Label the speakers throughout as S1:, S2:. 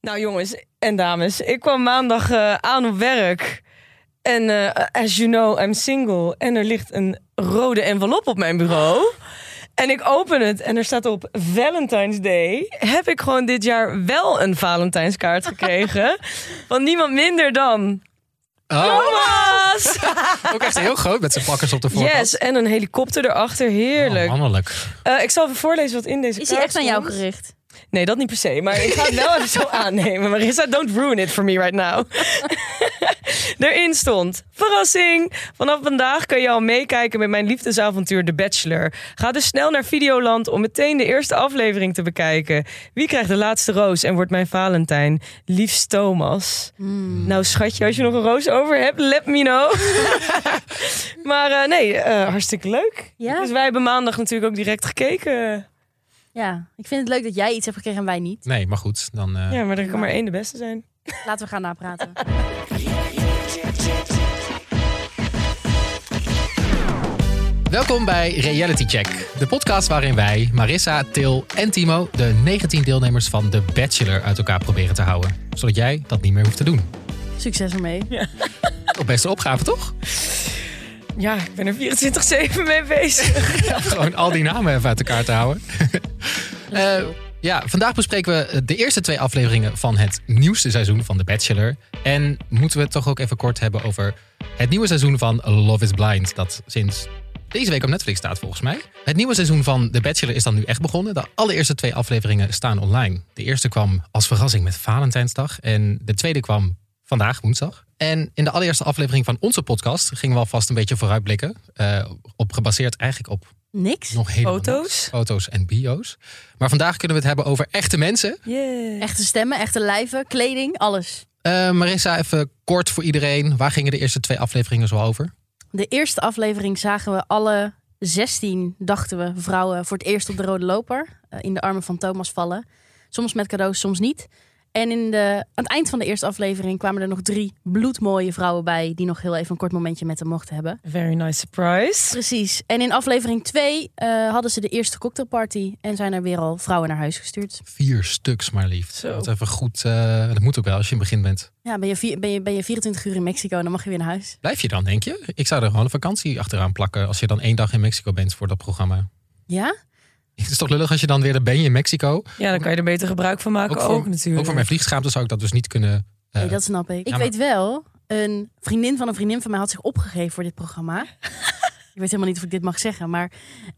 S1: Nou jongens en dames, ik kwam maandag eh, aan op werk. En eh, as you know, I'm single. En er ligt een rode envelop op mijn bureau. En ik open het en er staat op Valentine's Day. Heb ik gewoon dit jaar wel een Valentijnskaart gekregen. Want niemand minder dan
S2: Oh,
S1: Thomas!
S2: ook echt heel groot met zijn plakkers op de voorkant.
S1: Yes, en een helikopter erachter. Heerlijk.
S2: Oh, mannelijk.
S1: Eh, ik zal even voorlezen wat in deze
S3: Is
S1: kaart
S3: hij echt aan jou
S1: stond.
S3: gericht?
S1: Nee, dat niet per se. Maar ik ga het wel even zo aannemen. Marissa, don't ruin it for me right now. Erin stond, verrassing! Vanaf vandaag kun je al meekijken met mijn liefdesavontuur The Bachelor. Ga dus snel naar Videoland om meteen de eerste aflevering te bekijken. Wie krijgt de laatste roos en wordt mijn Valentijn? Liefst Thomas. Nou schatje, als je nog een roos over hebt, let me know. maar eh, nee, eh, hartstikke leuk.
S3: Ja.
S1: Dus wij hebben maandag natuurlijk ook direct gekeken.
S3: Ja, ik vind het leuk dat jij iets hebt gekregen en wij niet.
S2: Nee, maar goed. Dan, eh,
S1: Ja, maar er kan maar één de beste zijn.
S3: Laten we gaan napraten.
S2: Welkom bij Reality Check, de podcast waarin wij, Marissa, Til en Timo, de 19 deelnemers van The Bachelor uit elkaar proberen te houden. Zodat jij dat niet meer hoeft te doen.
S3: Succes ermee.
S2: Op beste opgave, toch?
S1: Ja, ik ben er 24-7 mee bezig.
S2: Gewoon al die namen even uit elkaar te houden. Eh, ja, vandaag bespreken we de eerste twee afleveringen van het nieuwste seizoen van The Bachelor. En moeten we het toch ook even kort hebben over het nieuwe seizoen van Love is Blind. Dat sinds deze week op Netflix staat, volgens mij. Het nieuwe seizoen van The Bachelor is dan nu echt begonnen. De allereerste twee afleveringen staan online. De eerste kwam als verrassing met Valentijnsdag. En de tweede kwam vandaag, woensdag. En in de allereerste aflevering van onze podcast gingen we alvast een beetje vooruitblikken. eh, op, gebaseerd eigenlijk op
S3: Niks?
S2: nog helemaal
S1: Foto's?
S2: niks. Foto's en bio's. Maar vandaag kunnen we het hebben over echte mensen.
S1: Yeah.
S3: Echte stemmen, echte lijven, kleding, alles.
S2: Eh, Marissa, even kort voor iedereen. Waar gingen de eerste twee afleveringen zo over?
S3: De eerste aflevering zagen we alle 16, dachten we, vrouwen voor het eerst op de rode loper. eh, in de armen van Thomas vallen. Soms met cadeaus, soms niet. En in de, aan het eind van de eerste aflevering kwamen er nog drie bloedmooie vrouwen bij. die nog heel even een kort momentje met hem mochten hebben.
S1: Very nice surprise.
S3: Precies. En in aflevering 2 hadden ze de eerste cocktailparty. en zijn er weer al vrouwen naar huis gestuurd.
S2: Vier stuks maar liefst.
S1: Zo.
S2: Dat even goed. eh, dat moet ook wel als je in het begin bent.
S3: Ja, ben je, vier- ben, je, ben je 24 uur in Mexico en dan mag je weer naar huis?
S2: Blijf je dan, denk je? Ik zou er gewoon een vakantie achteraan plakken. Als je dan één dag in Mexico bent voor dat programma.
S3: Ja?
S2: Het is toch lullig als je dan weer er ben je in Mexico.
S1: Ja, dan kan je er beter gebruik van maken. Ook, natuurlijk.
S2: ook voor mijn vliegschaamte zou ik dat dus niet kunnen. eh,
S3: Nee, dat snap ik. Ik
S2: maar-
S3: weet wel, een vriendin van een vriendin van mij had zich opgegeven voor dit programma. ik weet helemaal niet of ik dit mag zeggen, maar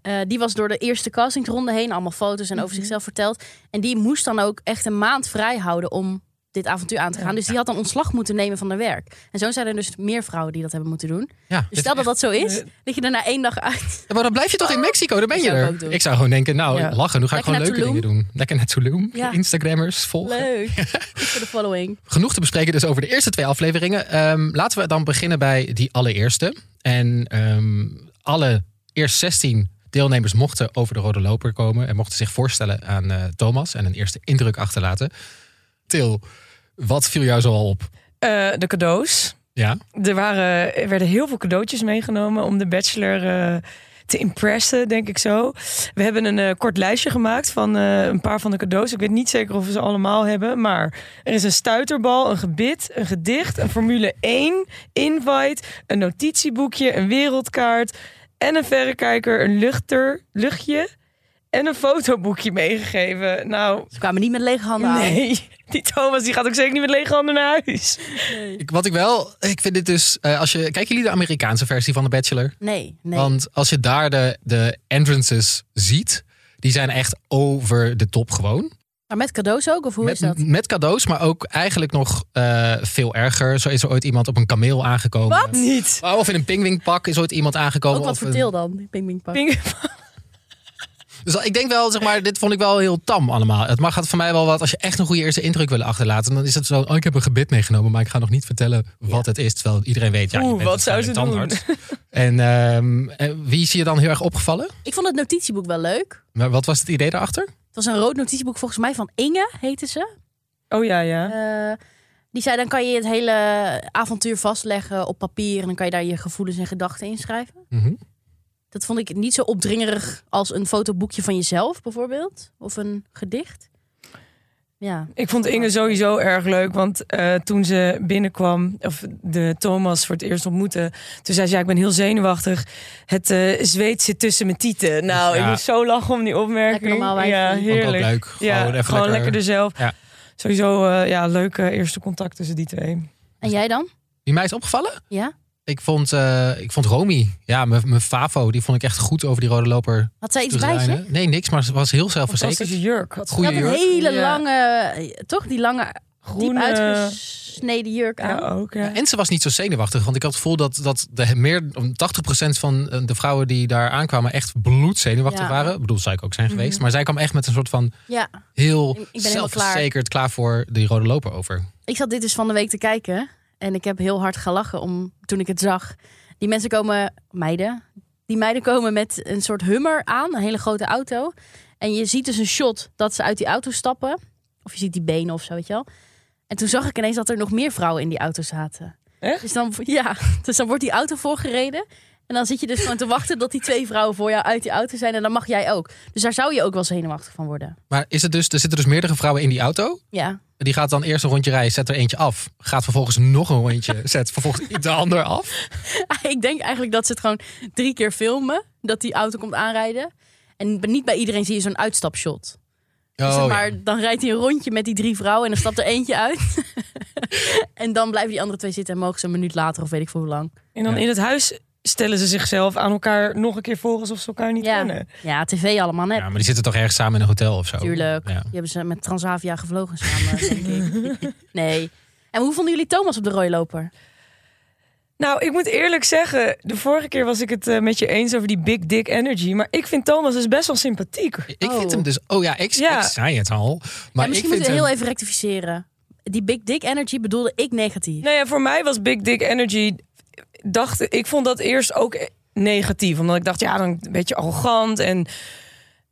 S3: eh, die was door de eerste castingsronde heen, allemaal foto's en over zichzelf verteld. En die moest dan ook echt een maand vrij houden om dit avontuur aan te gaan. Dus die had dan ontslag moeten nemen van haar werk. En zo zijn er dus meer vrouwen die dat hebben moeten doen.
S2: ja,
S3: Dus stel dat dat zo is,
S1: Eh.
S3: dat je daarna één dag uit.
S2: Maar dan blijf je toch in Mexico, dan ben
S3: Dat
S2: je
S3: zou ik
S2: er.
S3: ook doen.
S2: Ik zou gewoon denken, nou,
S1: Ja.
S2: lachen, nu ga ik
S3: Lekker
S2: gewoon leuke
S3: naar
S2: dingen doen. Lekker naar Tulum,
S3: Ja.
S2: Instagrammers, volgen.
S3: Leuk. Goed voor de following.
S2: Genoeg te bespreken dus over de eerste twee afleveringen. Ehm, laten we dan beginnen bij die allereerste. En ehm, alle eerst 16 deelnemers mochten over de rode loper komen... en mochten zich voorstellen aan eh, Thomas en een eerste indruk achterlaten. Til, wat viel jou zoal op?
S1: Eh, de cadeaus.
S2: Ja,
S1: Er, waren, er werden heel veel cadeautjes meegenomen om de bachelor eh, te impressen, denk ik zo. We hebben een eh, kort lijstje gemaakt van eh, een paar van de cadeaus. Ik weet niet zeker of we ze allemaal hebben, maar er is een stuiterbal, een gebit, een gedicht, een Formule 1 invite, een notitieboekje, een wereldkaart en een verrekijker, een luchter, luchtje en een fotoboekje meegegeven. Nou,
S3: Ze kwamen niet met lege handen aan.
S1: nee. Die Thomas die gaat ook zeker niet met lege handen naar huis.
S2: ik, wat ik wel... Ik vind dit dus... eh, als je, kijken jullie de Amerikaanse versie van The Bachelor?
S3: Nee, nee.
S2: Want als je daar de, de entrances ziet, die zijn echt over de top gewoon.
S3: Maar met cadeaus ook, of hoe is
S2: Met,
S3: dat?
S2: met cadeaus, maar ook eigenlijk nog eh, veel erger. Zo is er ooit iemand op een kameel aangekomen.
S1: Niet.
S2: Oh, Of in een pingwingpak is ooit iemand aangekomen.
S3: Ook wat
S2: of
S3: voor
S2: een-
S3: Til dan, die pingpingpak.
S1: Ping-
S2: Dus ik denk wel, zeg maar, dit vond ik wel heel tam allemaal. Het mag het voor mij wel wat, als je echt een goede eerste indruk wil achterlaten, dan is het zo, oh, ik heb een gebit meegenomen, maar ik ga nog niet vertellen wat het is. Terwijl iedereen weet, ja, je
S1: Oeh,
S2: bent
S1: wat zou ze
S2: waarschijnlijk tandarts. En ehm, en wie is je dan heel erg opgevallen?
S3: Ik vond het notitieboek wel leuk.
S2: Maar wat was het idee daarachter?
S3: Het was een rood notitieboek volgens mij van Inge, heette ze.
S1: Oh ja, ja.
S3: Eh, die zei, dan kan je het hele avontuur vastleggen op papier... en dan kan je daar je gevoelens en gedachten inschrijven.
S2: Mhm.
S3: Dat vond ik niet zo opdringerig als een fotoboekje van jezelf bijvoorbeeld. Of een gedicht. Ja.
S1: Ik vond Inge sowieso erg leuk, want eh, toen ze binnenkwam, of de Thomas voor het eerst ontmoette, toen zei ze, ja, ik ben heel zenuwachtig. Het eh, zweet zit tussen mijn tieten. Nou,
S2: Ja.
S1: ik moest zo lachen om die
S3: Lekker
S1: opmerking.
S3: normaal wijf.
S1: ja,
S3: Vond ik
S2: Vond ik ook
S1: heerlijk.
S2: leuk. Gewoon
S1: ja,
S2: even
S1: gewoon lekker dus- er zelf.
S2: Ja.
S1: Sowieso, eh, ja, leuke eerste contact tussen die twee.
S3: En jij dan?
S2: Die mij is opgevallen?
S3: Ja?
S2: Ik vond, eh, ik vond Romy, ja, mijn mijn Favo, die vond ik echt goed over die rode loper.
S3: Had zij iets
S2: te
S3: bij zich?
S2: lijnen. Nee, niks, maar ze was heel zelfverzekerd.
S1: Fantastische jurk. Had
S3: Ze
S2: Goeie
S3: had
S2: jurk.
S3: een hele
S1: Ja.
S3: lange, eh, toch? Die lange, diep
S1: groene...
S3: uitgesneden jurk aan.
S1: Ja, ook, ja.
S2: En ze was niet zo zenuwachtig, want ik had het gevoel dat, dat de meer, 80% van eh, de vrouwen die daar aankwamen echt bloedzenuwachtig
S3: Ja.
S2: waren. Ik bedoel, zou ik ook zijn geweest. Maar zij kwam echt met een soort van
S3: Ja.
S2: heel
S3: Ik- ik ben helemaal klaar.
S2: zelfverzekerd klaar. voor die rode loper over.
S3: Ik zat dit dus van de week te kijken. En ik heb heel hard gelachen om, toen ik het zag. Die mensen komen, meiden. Die meiden komen met een soort hummer aan. Een hele grote auto. En je ziet dus een shot dat ze uit die auto stappen. Of je ziet die benen of zo, weet je wel. En toen zag ik ineens dat er nog meer vrouwen in die auto zaten.
S1: Echt?
S3: Dus dan, ja, dus dan wordt die auto voorgereden. En dan zit je dus gewoon te wachten dat die twee vrouwen voor jou uit die auto zijn. En dan mag jij ook. Dus daar zou je ook wel zenuwachtig van worden.
S2: Maar is het dus, er zitten dus meerdere vrouwen in die auto.
S3: Ja.
S2: Die gaat dan eerst een rondje rijden, zet er eentje af. Gaat vervolgens nog een rondje, zet vervolgens de ander af.
S3: Ik denk eigenlijk dat ze het gewoon drie keer filmen. Dat die auto komt aanrijden. En niet bij iedereen zie je zo'n uitstapshot. Dus zeg
S2: Oh, ja.
S3: maar dan rijdt hij een rondje met die drie vrouwen en dan stapt er eentje uit. en dan blijven die andere twee zitten en mogen ze een minuut later of weet ik veel hoe lang.
S1: En dan
S2: Ja.
S1: in het huis stellen ze zichzelf aan elkaar nog een keer voor alsof ze elkaar niet
S3: Ja.
S1: kennen.
S3: ja, tv allemaal net.
S2: Ja, maar die zitten toch ergens samen in een hotel of zo?
S3: Tuurlijk.
S2: Ja.
S3: Die hebben ze met Transavia gevlogen samen, denk ik. Nee. En hoe vonden jullie Thomas op de rode loper?
S1: Nou, ik moet eerlijk zeggen, de vorige keer was ik het eh, met je eens over die big dick energy. Maar ik vind Thomas dus best wel sympathiek.
S2: Ik vind
S3: Oh.
S2: hem dus... Oh ja, ik,
S1: Ja.
S2: ik zei het al. Maar
S3: Maar ja, misschien
S2: ik
S3: moeten
S2: vind
S3: we
S2: hem-
S3: heel even rectificeren. Die big dick energy bedoelde ik negatief.
S1: Nou ja, voor mij was big dick energy, dacht ik, vond dat eerst ook negatief. Omdat ik dacht, ja, dan een beetje arrogant en een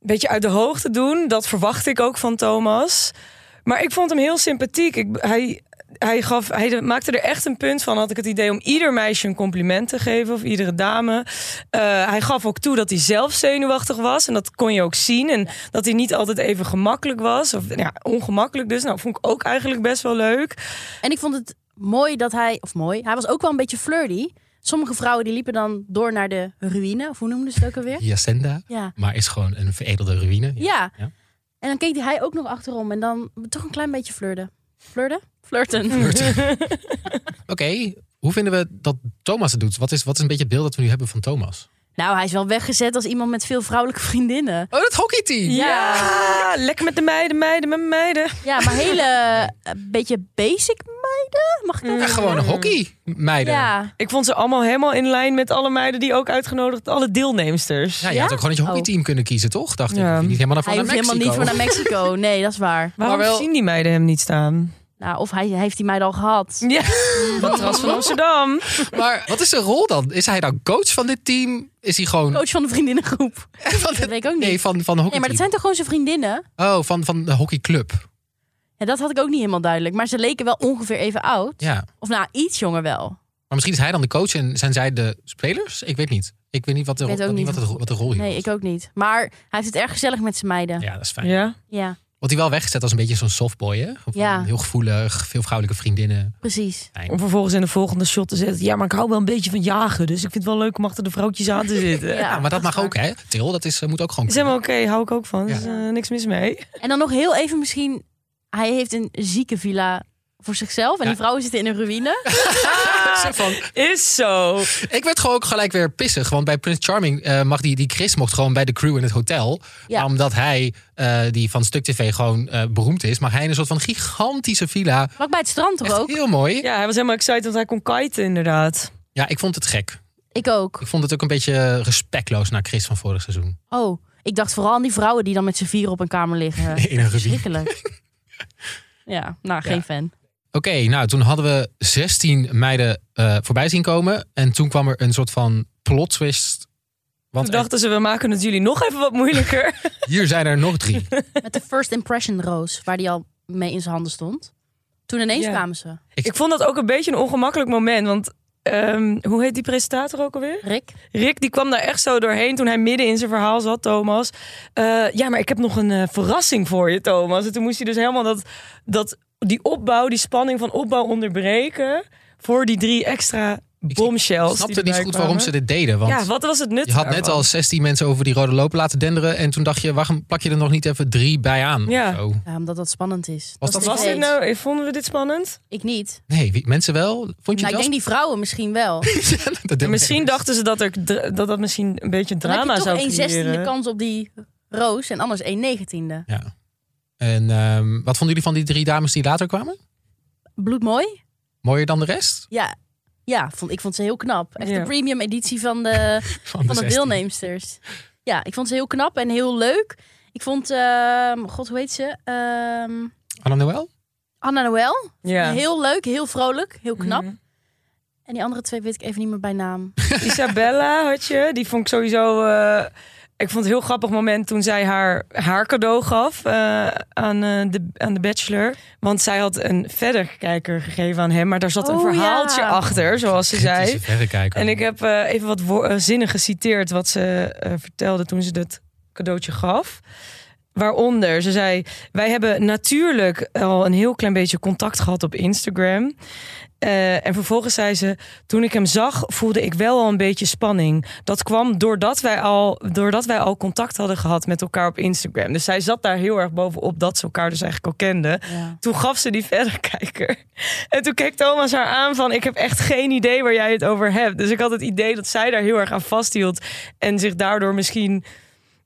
S1: beetje uit de hoogte doen. Dat verwacht ik ook van Thomas. Maar ik vond hem heel sympathiek. Ik, hij, hij, gaf, hij maakte er echt een punt van. Had ik het idee om ieder meisje een compliment te geven. Of iedere dame. Eh, hij gaf ook toe dat hij zelf zenuwachtig was. En dat kon je ook zien. En dat hij niet altijd even gemakkelijk was. Of ja, ongemakkelijk dus. Nou, vond ik ook eigenlijk best wel leuk.
S3: En ik vond het mooi dat hij, of mooi, hij was ook wel een beetje flirty. Sommige vrouwen die liepen dan door naar de ruïne, of hoe noemden ze het ook alweer?
S2: Jacinda,
S3: Ja.
S2: maar is gewoon een veredelde ruïne.
S3: Ja.
S2: Ja.
S3: En dan keek hij ook nog achterom en dan toch een klein beetje flirten. Flirten? Flirten.
S2: Oké, hoe vinden we dat Thomas het doet? Wat is, wat is een beetje het beeld dat we nu hebben van Thomas?
S3: Nou, hij is wel weggezet als iemand met veel vrouwelijke vriendinnen.
S2: Oh, dat hockeyteam!
S3: Ja.
S1: Ja, lekker met de meiden, meiden, met meiden.
S3: Ja, maar hele eh, beetje basic meiden, mag ik dat
S2: Ja,
S3: zeggen?
S2: gewoon een hockeymeiden.
S3: Ja.
S1: Ik vond ze allemaal helemaal in lijn met alle meiden die ook uitgenodigd, alle deelnemsters.
S2: Ja, je
S3: Ja?
S2: had ook gewoon het je
S3: Oh.
S2: hockeyteam kunnen kiezen, toch? Dacht ik.
S1: Ja.
S2: Of je Niet helemaal naar,
S3: Hij
S2: naar
S3: hoeft
S2: Mexico.
S3: helemaal niet voor naar Mexico. Nee, dat is waar.
S1: Waarom
S2: Maar wel-
S1: zien die meiden hem niet staan?
S3: Nou, of hij hij heeft die meiden al gehad.
S2: Mm.
S1: Ja, matras van Amsterdam.
S2: Maar wat is zijn rol dan? Is hij dan coach van dit team? Is hij gewoon...
S3: Coach van de vriendinnengroep.
S2: van
S3: Dat weet ik ook niet.
S2: Nee, van, van de
S3: Nee, maar dat
S2: hockeyteam.
S3: zijn toch gewoon zijn vriendinnen?
S2: Oh, van, van de hockeyclub.
S3: Ja, dat had ik ook niet helemaal duidelijk. Maar ze leken wel ongeveer even oud.
S2: Ja.
S3: Of nou, iets jonger wel.
S2: Maar misschien is hij dan de coach en zijn zij de spelers? Ik weet niet. Ik weet niet wat de,
S3: Ik weet ook
S2: niet
S3: niet.
S2: Wat de, wat de rol hier
S3: Nee,
S2: is.
S3: ik ook niet. Maar hij heeft het erg gezellig met zijn meiden. Ja.
S2: Ja, dat is fijn.
S1: Ja.
S3: ja,
S2: Wordt hij wel weggezet als een beetje zo'n softboy, hè? Of
S3: Ja.
S2: een Heel gevoelig, veel vrouwelijke vriendinnen.
S3: precies.
S1: Om vervolgens in de volgende shot te zetten. Ja, maar ik hou wel een beetje van jagen. Dus ik vind het wel leuk om achter de vrouwtjes aan te zitten.
S3: Ja.
S2: Ja, Ah, maar dat
S3: dat is
S2: mag ook, hè? Til, dat is, eh, moet ook gewoon
S1: Is helemaal oké, hou ik ook van.
S2: Ja.
S1: Dus, eh, niks mis mee.
S3: En dan nog heel even misschien... Hij heeft een zieke villa voor zichzelf. En
S2: Ja.
S3: die vrouwen zitten in een ruïne. Ah!
S2: Zo van,
S1: Is zo.
S2: ik werd gewoon ook gelijk weer pissig. Want bij Prince Charming eh, mag die, die Chris mocht gewoon bij de crew in het hotel.
S3: Ja.
S2: Maar omdat hij, eh, die van Stuk TV, gewoon eh, beroemd is. Maar hij in een soort van gigantische villa.
S3: Vlak bij het strand toch
S2: Echt
S3: ook?
S2: heel mooi. Ja.
S1: Ja, hij was helemaal excited, want hij kon kiten inderdaad.
S2: ik vond het gek.
S3: Ik ook.
S2: Ik vond het ook een beetje eh, respectloos naar Chris van vorig seizoen.
S3: Oh, ik dacht vooral aan die vrouwen die dan met z'n vieren op een kamer liggen.
S2: In een ruzie.
S3: Verschrikkelijk. Ja, nou, geen
S2: Ja.
S3: fan.
S2: Oké, nou toen hadden we 16 meiden eh, voorbij zien komen. En toen kwam er een soort van plot twist. Want
S1: Toen dachten ze, we maken het jullie nog even wat moeilijker.
S2: er- hier zijn er nog drie.
S3: Met de first impression roos, waar die al mee in zijn handen stond. Toen ineens
S1: Ja.
S3: kwamen ze.
S1: Ik vond dat ook een beetje een ongemakkelijk moment. Want ehm, hoe heet die presentator ook alweer?
S3: Rick?
S1: Rick die kwam daar echt zo doorheen toen hij midden in zijn verhaal zat, Thomas. Eh, ja, maar ik heb nog een eh, verrassing voor je, Thomas. En toen moest hij dus helemaal dat, dat, die opbouw, die spanning van opbouw onderbreken... voor die drie extra bombshells.
S2: Ik snapte
S1: die
S2: niet
S1: erbij
S2: goed waarom ze
S1: kwamen.
S2: dit deden. Want
S1: Ja, wat was het nut
S2: je had net
S1: daarvan?
S2: al 16 mensen over die rode loop laten denderen. En toen dacht je, waarom plak je er nog niet even drie bij aan?
S1: Ja.
S2: Of zo?
S3: Ja, omdat dat spannend is.
S2: Was dat
S3: is
S1: Was
S3: niet
S1: dit
S3: eens.
S1: nou, vonden we dit spannend?
S3: Ik niet.
S2: Nee, wie- mensen wel? Vond je
S3: Nou, ik denk die vrouwen misschien wel.
S2: dat
S1: Misschien dachten ze dat, er, dra- dat dat misschien een beetje
S3: Dan heb
S1: drama
S3: je toch
S1: zou
S3: een zestiende
S1: creëren.
S3: kans op die roos en anders een negentiende.
S2: Ja. En ehm, wat vonden jullie van die drie dames die later kwamen?
S3: Bloedmooi?
S2: Mooier dan de rest?
S3: Ja. Ja, vond, ik vond ze heel knap. Echt
S1: Ja.
S3: de premium editie van de, van de
S2: 16.
S3: deelnemsters. Ja, ik vond ze heel knap en heel leuk. Ik vond, ehm, god hoe heet ze? Ehm,
S2: Anna Noël?
S3: Anna Noël.
S1: Ja. Mhm.
S3: Heel leuk, heel vrolijk, heel knap. En die andere twee weet ik even niet meer bij naam.
S1: Isabella had je, die vond ik sowieso. eh, ik vond het een heel grappig moment toen zij haar, haar cadeau gaf eh, aan, eh, de, aan de Bachelor. Want zij had een verder kijker gegeven aan hem, maar daar zat een
S3: Oh,
S1: verhaaltje
S3: ja.
S1: achter, zoals ze zei.
S2: Kritische verrekijker.
S1: En ik heb eh, even wat wo- eh, zinnen geciteerd wat ze eh, vertelde toen ze dat cadeautje gaf. Waaronder, ze zei, wij hebben natuurlijk al een heel klein beetje contact gehad op Instagram. Eh, en vervolgens zei ze, toen ik hem zag, voelde ik wel al een beetje spanning. Dat kwam doordat wij, al, doordat wij al contact hadden gehad met elkaar op Instagram. Dus zij zat daar heel erg bovenop dat ze elkaar dus eigenlijk al kenden.
S3: Ja.
S1: Toen gaf ze die verrekijker. En toen keek Thomas haar aan van... ik heb echt geen idee waar jij het over hebt. Dus ik had het idee dat zij daar heel erg aan vasthield. En zich daardoor misschien...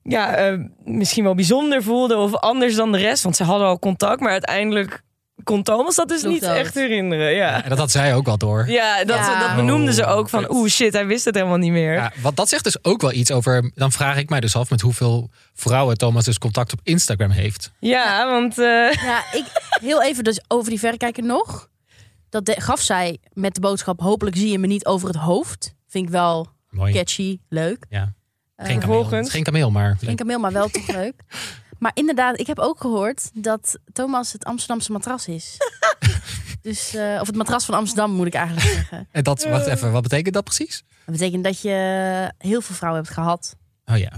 S1: Ja, eh, misschien wel bijzonder voelde of anders dan de rest. Want ze hadden al contact, maar uiteindelijk kon Thomas dat dus
S3: Sloeg
S1: niet
S3: dood.
S1: echt herinneren. Ja,
S2: En dat had zij ook wel door.
S1: ja, dat,
S3: Ja.
S1: dat benoemde ze
S2: Oh,
S1: ook van...
S2: kut.
S1: oeh shit, hij wist het helemaal niet meer.
S2: Ja, want dat zegt dus ook wel iets over. Dan vraag ik mij dus af met hoeveel vrouwen Thomas dus contact op Instagram heeft.
S1: Ja, want... eh,
S3: Ja, ik, heel even dus over die verrekijker nog. Dat de- gaf zij met de boodschap, hopelijk zie je me niet over het hoofd. Vind ik wel
S2: Mooi.
S3: catchy, leuk.
S2: Ja.
S3: Eh,
S2: Geen kameel.
S1: vervolgens-
S2: Geen kameel, maar.
S3: Geen kameel, maar wel toch leuk. Maar inderdaad, ik heb ook gehoord dat Thomas het Amsterdamse matras is. dus, eh, of het matras van Amsterdam moet ik eigenlijk zeggen.
S2: En Eh, dat, wacht
S3: Eh.
S2: even, wat betekent dat precies?
S3: Dat betekent dat je heel veel vrouwen hebt gehad.
S2: Oh ja.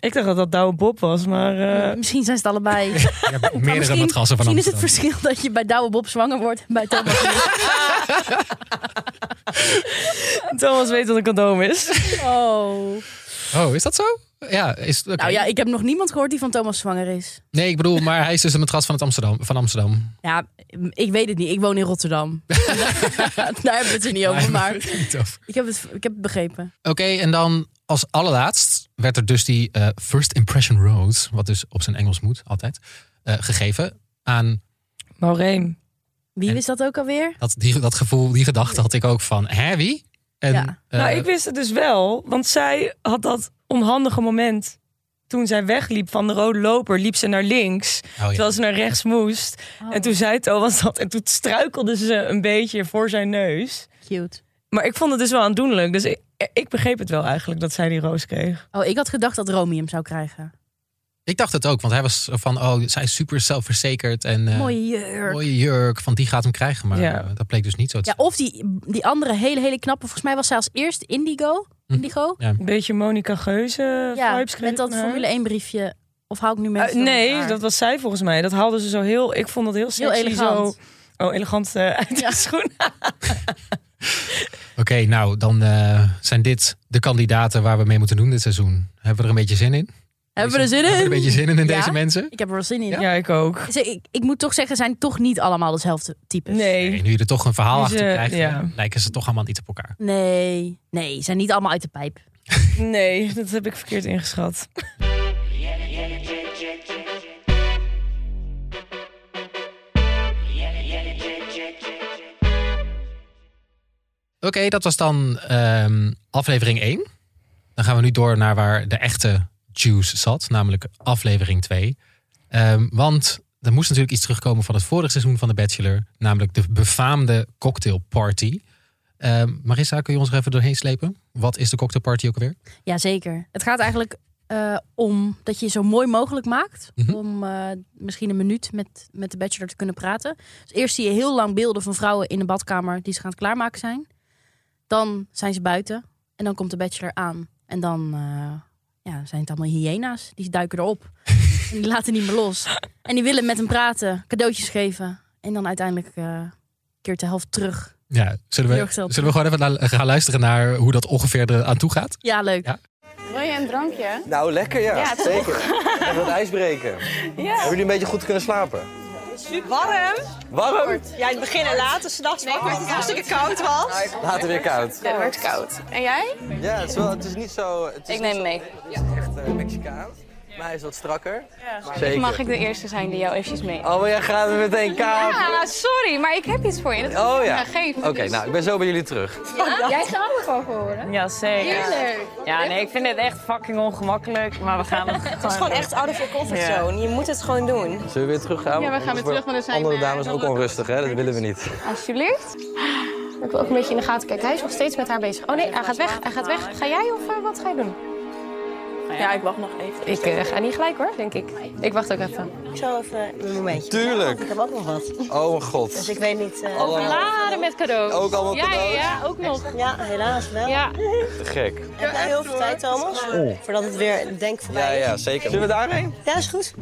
S1: ik dacht dat dat Douwe Bob was, maar... eh,
S3: misschien zijn ze het allebei. Maar
S2: Je hebt meerdere
S3: Nou, misschien,
S2: matrassen van
S3: Misschien is het
S2: Amsterdam.
S3: verschil dat je bij Douwe Bob zwanger wordt en bij Thomas niet.
S1: Thomas weet wat een condoom is.
S3: Oh.
S2: Oh, is dat zo? Ja, is, oké.
S3: Nou ja, ik heb nog niemand gehoord die van Thomas zwanger is.
S2: Nee, ik bedoel, maar hij is dus een matras van, het Amsterdam, van Amsterdam.
S3: Ja, ik weet het niet. Ik woon in Rotterdam. Daar hebben we het er niet over, maar
S2: Daar hebben we het niet over.
S3: ik heb het, ik heb het begrepen.
S2: Oké, en dan als allerlaatst werd er dus die eh, First Impression Road, wat dus op zijn Engels moet altijd, eh, gegeven aan
S1: Maureen.
S3: Wie
S2: En-
S3: wist dat ook alweer?
S2: Dat, die, dat gevoel, die gedachte had ik ook van, hè, wie? En,
S3: Ja.
S2: eh,
S1: nou, ik wist het dus wel, want zij had dat onhandige moment. Toen zij wegliep van de rode loper, liep ze naar links.
S2: oh ja.
S1: Terwijl ze naar rechts moest.
S3: Oh.
S1: En toen zei Thomas dat. En toen struikelde ze een beetje voor zijn neus.
S3: Cute.
S1: Maar ik vond het dus wel aandoenlijk. Dus ik, ik begreep het wel eigenlijk dat zij die roos kreeg.
S3: Oh, ik had gedacht dat Romy hem zou krijgen.
S2: Ik dacht het ook, want hij was van, oh, zij is super zelfverzekerd en eh,
S3: Mooie jurk.
S2: mooie jurk, van die gaat hem krijgen. Maar
S1: Ja.
S2: eh, dat bleek dus niet zo. te
S3: Ja, of die, die andere hele, hele knappe. Volgens mij was zij als eerst Indigo.
S2: Hm.
S3: Indigo?
S1: Een beetje Monica Geuze
S3: Ja,
S1: vibes kreeg
S3: met dat
S1: ik nou.
S3: Formule 1 briefje. Of hou ik nu
S1: Eh,
S3: mensen door
S1: nee,
S3: elkaar?
S1: dat was zij volgens mij. Dat haalde ze zo heel... Ik vond dat heel sexy.
S3: Heel elegant.
S1: Zo, oh, elegant eh, uit
S3: Ja.
S1: de schoen.
S2: Oké, nou, dan eh, zijn dit de kandidaten waar we mee moeten doen dit seizoen. Hebben we er een beetje zin in?
S3: Hebben we er zin in?
S2: Hebben we er een beetje zin in, in
S3: Ja.
S2: deze mensen?
S3: Ik heb er wel zin in.
S1: Ja, ik ook.
S3: Ze- Ik, ik moet toch zeggen, zijn toch niet allemaal dezelfde types.
S1: Nee.
S2: Nee, nu je er toch een verhaal
S1: Dus,
S2: achter
S1: eh,
S2: krijgt,
S1: ja.
S2: eh, lijken ze toch allemaal niet op elkaar.
S3: Nee, nee, zijn niet allemaal uit de pijp.
S1: Nee, dat heb ik verkeerd ingeschat.
S2: Oké, dat was dan ehm, aflevering 1. Dan gaan we nu door naar waar de echte juice zat, namelijk aflevering 2. Ehm, want er moest natuurlijk iets terugkomen van het vorige seizoen van The Bachelor, namelijk de befaamde cocktailparty. Ehm Marissa, kun je ons er even doorheen slepen? Wat is de cocktailparty ook alweer?
S3: Jazeker. Het gaat eigenlijk eh, om dat je zo mooi mogelijk maakt.
S2: Mhm.
S3: Om eh, misschien een minuut met, met de bachelor te kunnen praten. Dus eerst zie je heel lang beelden van vrouwen in de badkamer die ze gaan klaarmaken zijn. Dan zijn ze buiten en dan komt de bachelor aan. En dan eh, ja, zijn het allemaal hyena's. Die duiken erop. en die laten niet meer los. En die willen met hem praten, cadeautjes geven. En dan uiteindelijk eh, keert de helft terug.
S2: Ja, zullen we,
S3: Heel erg
S2: zullen
S3: zelden.
S2: we gewoon even la- gaan luisteren naar hoe dat ongeveer er aan toe gaat?
S3: Ja, leuk.
S2: Ja.
S4: Wil je een drankje?
S5: Nou, lekker ja.
S4: Ja, toch?
S5: Zeker. Even wat ijsbreken. Hebben jullie een beetje goed kunnen slapen?
S6: Warm.
S5: Warm?
S6: Ja, in het begin en later, s'nachts wakker, omdat het hartstikke koud was.
S5: Later weer koud.
S4: Het werd koud. En jij?
S5: Ja, het is, wel, het is niet zo... Het is
S4: Ik neem
S5: niet zo-
S4: mee.
S5: Het is echt eh, Mexicaans. Maar hij is wat strakker. Maar Zeker.
S4: Mag ik de eerste zijn die jou eventjes mee?
S5: Oh, maar jij gaat er meteen kaap.
S4: Ja, sorry, maar ik heb iets voor je. Dat
S5: Oh
S4: wil ik
S5: ja.
S4: graag geven.
S5: Oké, nou, ik ben zo bij jullie terug.
S4: Jij gaat ook gewoon horen.
S7: Ja, zeker.
S4: Tuurlijk.
S7: Ja, nee, ik vind het echt fucking ongemakkelijk, maar we gaan het
S6: Het is gewoon echt out of your comfort zone. Je moet het gewoon doen.
S5: Zullen we weer teruggaan?
S4: Ja, we gaan weer
S5: Anders
S4: terug, want
S5: worden
S4: er zijn,
S5: Andere
S4: eh,
S5: dames ook onrustig, hè? Dat willen we niet.
S4: Alsjeblieft. Ik wil ook een beetje in de gaten kijken. Hij is nog steeds met haar bezig. Oh nee, hij gaat weg. Hij gaat weg. Ga jij of eh, wat ga je doen?
S6: Ja, ik wacht nog even.
S4: Nou Ik eh, ga niet gelijk hoor, denk ik. Ik wacht ook even.
S6: Ik zal even een momentje.
S5: Tuurlijk.
S6: Ik heb ook nog wat.
S5: Oh, mijn god.
S6: Dus ik weet niet... eh,
S4: Laden met cadeaus.
S5: Ook allemaal
S4: ja,
S5: cadeaus?
S4: Ja, ja, ook nog.
S6: Ja, helaas wel.
S4: Ja.
S5: Te gek.
S6: Heb jij heel veel tijd, Thomas? Voordat het weer denk
S5: Ja,
S6: voorbij is.
S5: ja, zeker. Zullen we daarheen?
S6: Ja, is goed.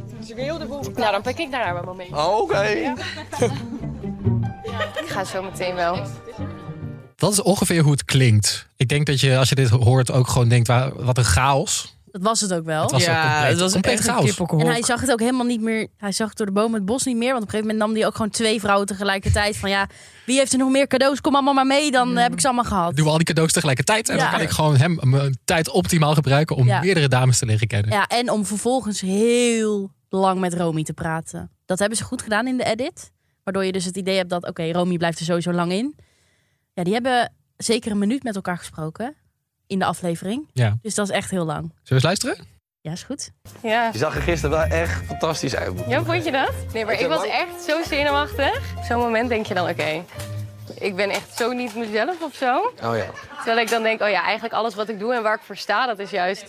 S4: Nou, dan pak ik daar mijn moment.
S5: Oh, oké.
S4: Ik ga zo meteen wel.
S2: Dat is ongeveer hoe het klinkt. Ik denk dat je als je dit hoort ook gewoon denkt, wa- wat een chaos.
S3: Dat was het ook wel.
S2: Het was wel compleet,
S1: het was
S2: compleet
S1: echt een
S2: chaos.
S1: kippenhok.
S3: En hij zag het ook helemaal niet meer. Hij zag het door de boom het bos niet meer. Want op een gegeven moment nam hij ook gewoon twee vrouwen tegelijkertijd. Van ja, wie heeft er nog meer cadeaus? Kom allemaal maar mee,
S1: Mm.
S3: dan heb ik ze allemaal gehad.
S2: Doen we al die cadeaus tegelijkertijd. En
S3: Ja.
S2: dan kan ik gewoon hem mijn tijd optimaal gebruiken om
S3: Ja.
S2: meerdere dames te leren kennen.
S3: Ja, en om vervolgens heel lang met Romy te praten. Dat hebben ze goed gedaan in de edit. Waardoor je dus het idee hebt dat, oké, Romy blijft er sowieso lang in. Ja, die hebben zeker een minuut met elkaar gesproken in de aflevering.
S2: Ja.
S3: Dus dat is echt heel lang.
S2: Zullen we eens luisteren?
S3: Ja, is goed.
S4: Ja.
S5: Je zag er gisteren wel echt fantastisch uit.
S4: Ja, vond je dat? Nee, maar ik was echt zo zenuwachtig. Op zo'n moment denk je dan, oké, ik ben echt zo niet mezelf of zo.
S5: Oh ja.
S4: Terwijl ik dan denk, oh ja, eigenlijk alles wat ik doe en waar ik voor sta, dat is juist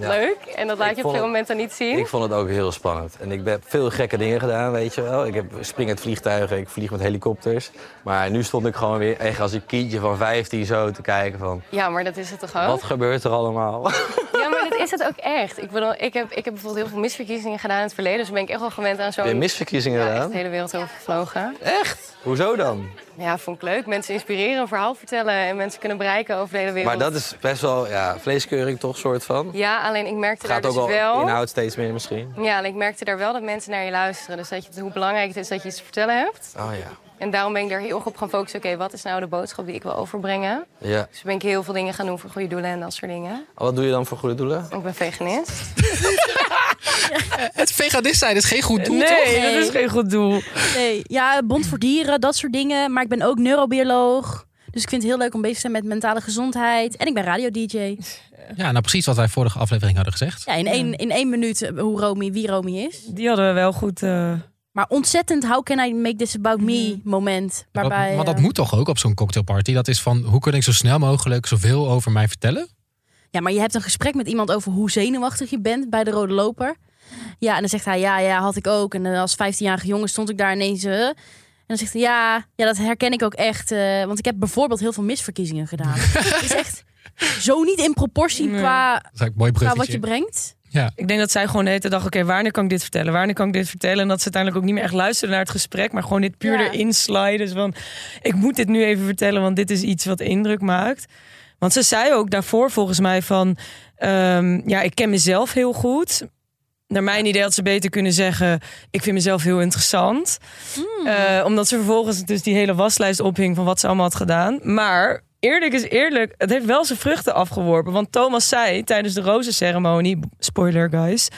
S5: Ja.
S4: leuk. En dat laat je op
S5: vond
S4: veel
S5: het-
S4: momenten niet zien.
S5: Ik vond het ook heel spannend. En ik heb veel gekke dingen gedaan, weet je wel. Ik heb spring uit vliegtuigen, ik vlieg met helikopters. Maar nu stond ik gewoon weer echt als een kindje van 15 zo te kijken van...
S4: Ja, maar dat is het toch ook?
S5: Wat gebeurt er allemaal?
S4: Oh. Ja, maar dat is het ook echt. Ik, bedoel, ik, heb, ik heb bijvoorbeeld heel veel misverkiezingen gedaan in het verleden. Dus ben ik echt wel gewend aan
S5: Heb je
S4: zo'n...
S5: misverkiezingen
S4: Ja, echt
S5: gedaan?
S4: de hele wereld overgevlogen.
S5: Echt? Hoezo dan?
S4: Ja, vond ik leuk. Mensen inspireren, een verhaal vertellen en mensen kunnen bereiken over de hele wereld.
S5: Maar dat is best wel, ja, vleeskeuring toch, soort van?
S4: Ja, alleen ik merkte
S5: Het
S4: daar
S5: gaat ook
S4: dus
S5: wel
S4: wel...
S5: inhoud steeds meer misschien.
S4: Ja, en ik merkte daar wel dat mensen naar je luisteren. Dus dat je, hoe belangrijk het is dat je iets te vertellen hebt.
S5: Oh ja.
S4: En daarom ben ik daar heel erg op gaan focussen. Oké, wat is nou de boodschap die ik wil overbrengen?
S5: Ja.
S4: Dus ben ik heel veel dingen gaan doen voor goede doelen en dat soort dingen.
S5: Wat doe je dan voor goede doelen?
S4: Ik ben veganist.
S2: Het veganist zijn is geen goed doel, toch?
S1: Nee, dat is geen goed doel.
S3: Nee, ja, Bond voor Dieren, dat soort dingen. Maar ik ben ook neurobioloog. Dus ik vind het heel leuk om bezig te zijn met mentale gezondheid. En ik ben radio-dj.
S2: Ja, nou precies wat wij vorige aflevering hadden gezegd.
S3: Ja, in één, in één minuut eh, hoe Romy, wie Romy is.
S1: Die hadden we wel goed. eh,
S3: Maar ontzettend how can I make this about me moment.
S2: Mhm. Dat-
S3: Waarbij,
S2: maar dat
S3: eh,
S2: moet toch ook op zo'n cocktailparty? Dat is van, hoe kun ik zo snel mogelijk zoveel over mij vertellen?
S3: Ja, maar je hebt een gesprek met iemand over hoe zenuwachtig je bent bij de rode loper. Ja, en dan zegt hij, ja, ja, had ik ook. En eh, als 15-jarige jongen stond ik daar ineens... eh. en dan zegt hij, ja, ja, dat herken ik ook echt. eh, want ik heb bijvoorbeeld heel veel misverkiezingen gedaan. Het is echt zo niet in proportie qua,
S2: Dat is eigenlijk een mooi
S3: qua
S2: bruggetje.
S3: Nou, wat je brengt.
S1: ik denk dat zij gewoon de hele dag, oké, wanneer kan ik dit vertellen? Wanneer kan ik dit vertellen? En dat ze uiteindelijk ook niet meer echt luisteren naar het gesprek, maar gewoon dit puur
S3: Ja.
S1: erin sliden. Dus van, ik moet dit nu even vertellen, want dit is iets wat indruk maakt. Want ze zei ook daarvoor volgens mij van, ehm, ja, ik ken mezelf heel goed. Naar mijn idee had ze beter kunnen zeggen, ik vind mezelf heel interessant. Eh, omdat ze vervolgens dus die hele waslijst ophing van wat ze allemaal had gedaan. Maar eerlijk is eerlijk, het heeft wel zijn vruchten afgeworpen. Want Thomas zei tijdens de rozenceremonie, spoiler guys,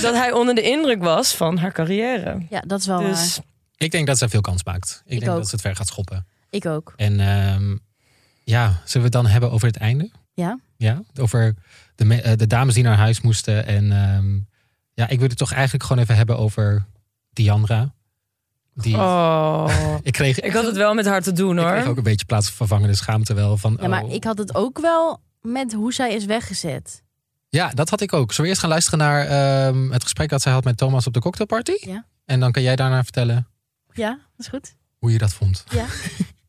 S1: dat hij onder de indruk was van haar carrière.
S3: Ja, dat is wel waar.
S1: Dus
S2: Ik denk dat zij veel kans maakt. Ik, denk
S3: ook.
S2: dat ze het ver gaat schoppen.
S3: Ik ook.
S2: En ehm, ja, zullen we het dan hebben over het einde?
S3: Ja.
S2: Ja, over de, me- eh, de dames die naar huis moesten. En ehm, ja, ik wil het toch eigenlijk gewoon even hebben over Diandra. Die,
S1: oh,
S2: ik, kreeg,
S1: ik had het wel met haar te doen
S2: ik
S1: hoor.
S2: kreeg ook een beetje plaatsvervangende schaamte wel. Van,
S3: Ja, maar
S2: oh,
S3: ik had het ook wel met hoe zij is weggezet.
S2: Ja, dat had ik ook. Zullen we eerst gaan luisteren naar ehm, het gesprek dat zij had met Thomas op de cocktailparty?
S3: Ja.
S2: En dan kan jij daarna vertellen
S3: Ja, dat is goed.
S2: hoe je dat vond.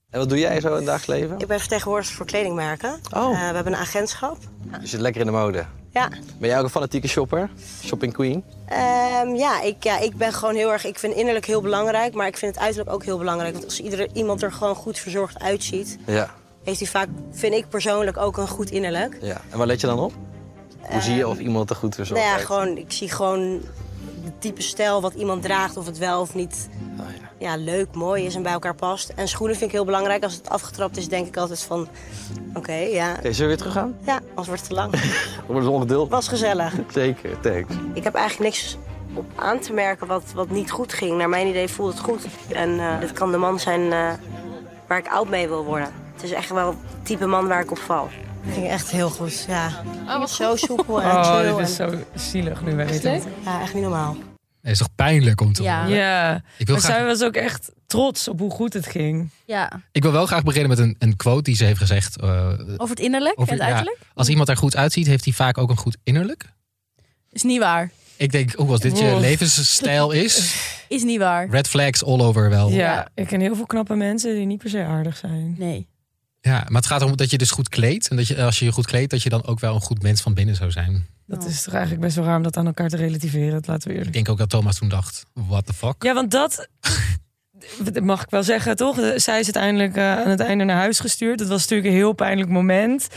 S5: En wat doe jij zo in het dagelijks leven?
S6: Ik ben vertegenwoordiger voor kledingmerken.
S5: Oh.
S6: Eh, we hebben een agentschap.
S5: Je zit lekker in de mode.
S6: Ja.
S5: Ben jij ook een fanatieke shopper? Shopping queen?
S6: Ehm, ja, ik, ja, ik ben gewoon heel erg. Ik vind innerlijk heel belangrijk, maar ik vind het uiterlijk ook heel belangrijk. Want als iedere, iemand er gewoon goed verzorgd uitziet,
S5: Ja.
S6: heeft hij vaak, vind ik persoonlijk, ook een goed innerlijk.
S5: ja. En waar let je dan op? Hoe zie je of iemand er goed voor
S6: nou
S5: zorgt?
S6: ja, gewoon, ik zie gewoon het type stijl wat iemand draagt, of het wel of niet
S5: Oh, ja.
S6: ja, leuk, mooi is en bij elkaar past. En schoenen vind ik heel belangrijk. Als het afgetrapt is, denk ik altijd van, oké, ja.
S5: Oké, zullen we weer teruggaan?
S6: Ja, anders wordt het te lang.
S5: We worden ongeduld.
S6: was gezellig.
S5: Zeker, thanks.
S6: Ik heb eigenlijk niks op aan te merken wat, wat niet goed ging. Naar mijn idee voelt het goed. En eh, dit kan de man zijn eh, waar ik oud mee wil worden. Het is echt wel het type man waar ik op val. ging echt heel goed, ja.
S4: Oh, wat
S6: Zo soepel en
S1: Oh,
S6: chill.
S1: dit is zo zielig nu wij weten. het.
S6: Ja, echt niet normaal.
S2: Het is toch pijnlijk om te
S3: Ja.
S2: horen?
S1: Ja,
S2: Ik, wil
S1: maar
S2: graag,
S1: zij was ook echt trots op hoe goed het ging.
S3: Ja,
S2: ik wil wel graag beginnen met een, een quote die ze heeft gezegd. eh,
S3: over het innerlijk
S2: Over-
S3: en het
S2: ja.
S3: uiterlijk.
S2: als iemand er goed uitziet, heeft hij vaak ook een goed innerlijk.
S3: Is niet waar.
S2: Ik denk, oeh, als dit je
S1: Wow.
S2: levensstijl is,
S3: Is niet waar.
S2: red flags all over wel.
S1: Ja, ik ken heel veel knappe mensen die niet per se aardig zijn.
S3: Nee.
S2: Ja, maar het gaat erom dat je dus goed kleedt. En dat je, als je je goed kleedt, dat je dan ook wel een goed mens van binnen zou zijn.
S1: Dat
S3: Oh.
S1: is toch eigenlijk best wel raar om dat aan elkaar te relativeren, dat laten we
S2: Ik
S1: eerlijk.
S2: denk ook dat Thomas toen dacht, what the fuck?
S1: Ja, want dat dat mag ik wel zeggen, toch? Zij is uiteindelijk eh, aan het einde naar huis gestuurd. Dat was natuurlijk een heel pijnlijk moment.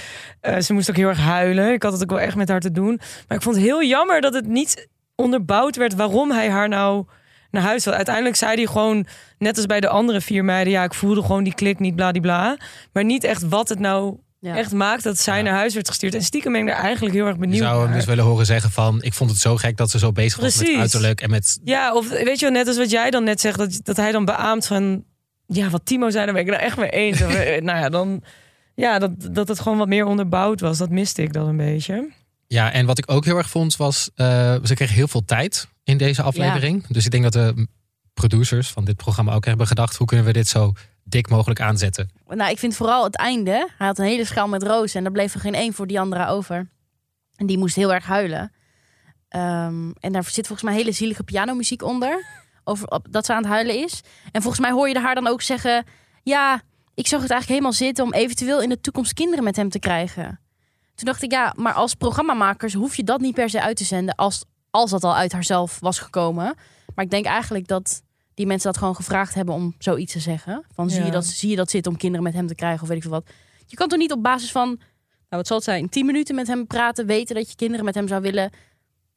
S1: Eh, ze moest ook heel erg huilen. Ik had het ook wel echt met haar te doen. Maar ik vond het heel jammer dat het niet onderbouwd werd waarom hij haar nou naar huis wil. Uiteindelijk zei hij gewoon, net als bij de andere vier meiden... ja, ik voelde gewoon die klik niet, bladibla. Maar niet echt wat het nou
S3: Ja.
S1: echt maakt dat zij
S2: Ja.
S1: naar huis werd gestuurd. En stiekem ben ik daar eigenlijk heel erg
S2: Je
S1: benieuwd
S2: zou hem
S1: naar.
S2: dus willen horen zeggen van, ik vond het zo gek dat ze zo bezig was met
S1: Precies.
S2: uiterlijk en met...
S1: Ja, of weet je wel, net als wat jij dan net zegt, dat, dat hij dan beaamt van... Ja, wat Timo zei, daar ben ik het nou echt mee eens. Of, eh, nou ja, dan... Ja, dat, dat het gewoon wat meer onderbouwd was. Dat miste ik dan een beetje.
S2: Ja, en wat ik ook heel erg vond was, eh, ze kreeg heel veel tijd in deze aflevering. Dus ik denk dat de producers van dit programma ook hebben gedacht, hoe kunnen we dit zo dik mogelijk aanzetten?
S3: Nou, ik vind vooral het einde. Hij had een hele schaal met rozen en er bleef er geen één voor die andere over. En die moest heel erg huilen. Ehm, en daar zit volgens mij hele zielige pianomuziek onder. Over op- dat ze aan het huilen is. En volgens mij hoor je haar dan ook zeggen: Ja, ik zag het eigenlijk helemaal zitten om eventueel in de toekomst kinderen met hem te krijgen. Toen dacht ik, ja, maar als programmamakers hoef je dat niet per se uit te zenden. Als, als dat al uit haarzelf was gekomen. Maar ik denk eigenlijk dat die mensen dat gewoon gevraagd hebben om zoiets te zeggen. Van zie,
S1: Ja.
S3: je dat, zie je dat zitten om kinderen met hem te krijgen of weet ik veel wat. Je kan toch niet op basis van, nou wat zal het zijn, 10 minuten met hem praten, weten dat je kinderen met hem zou willen.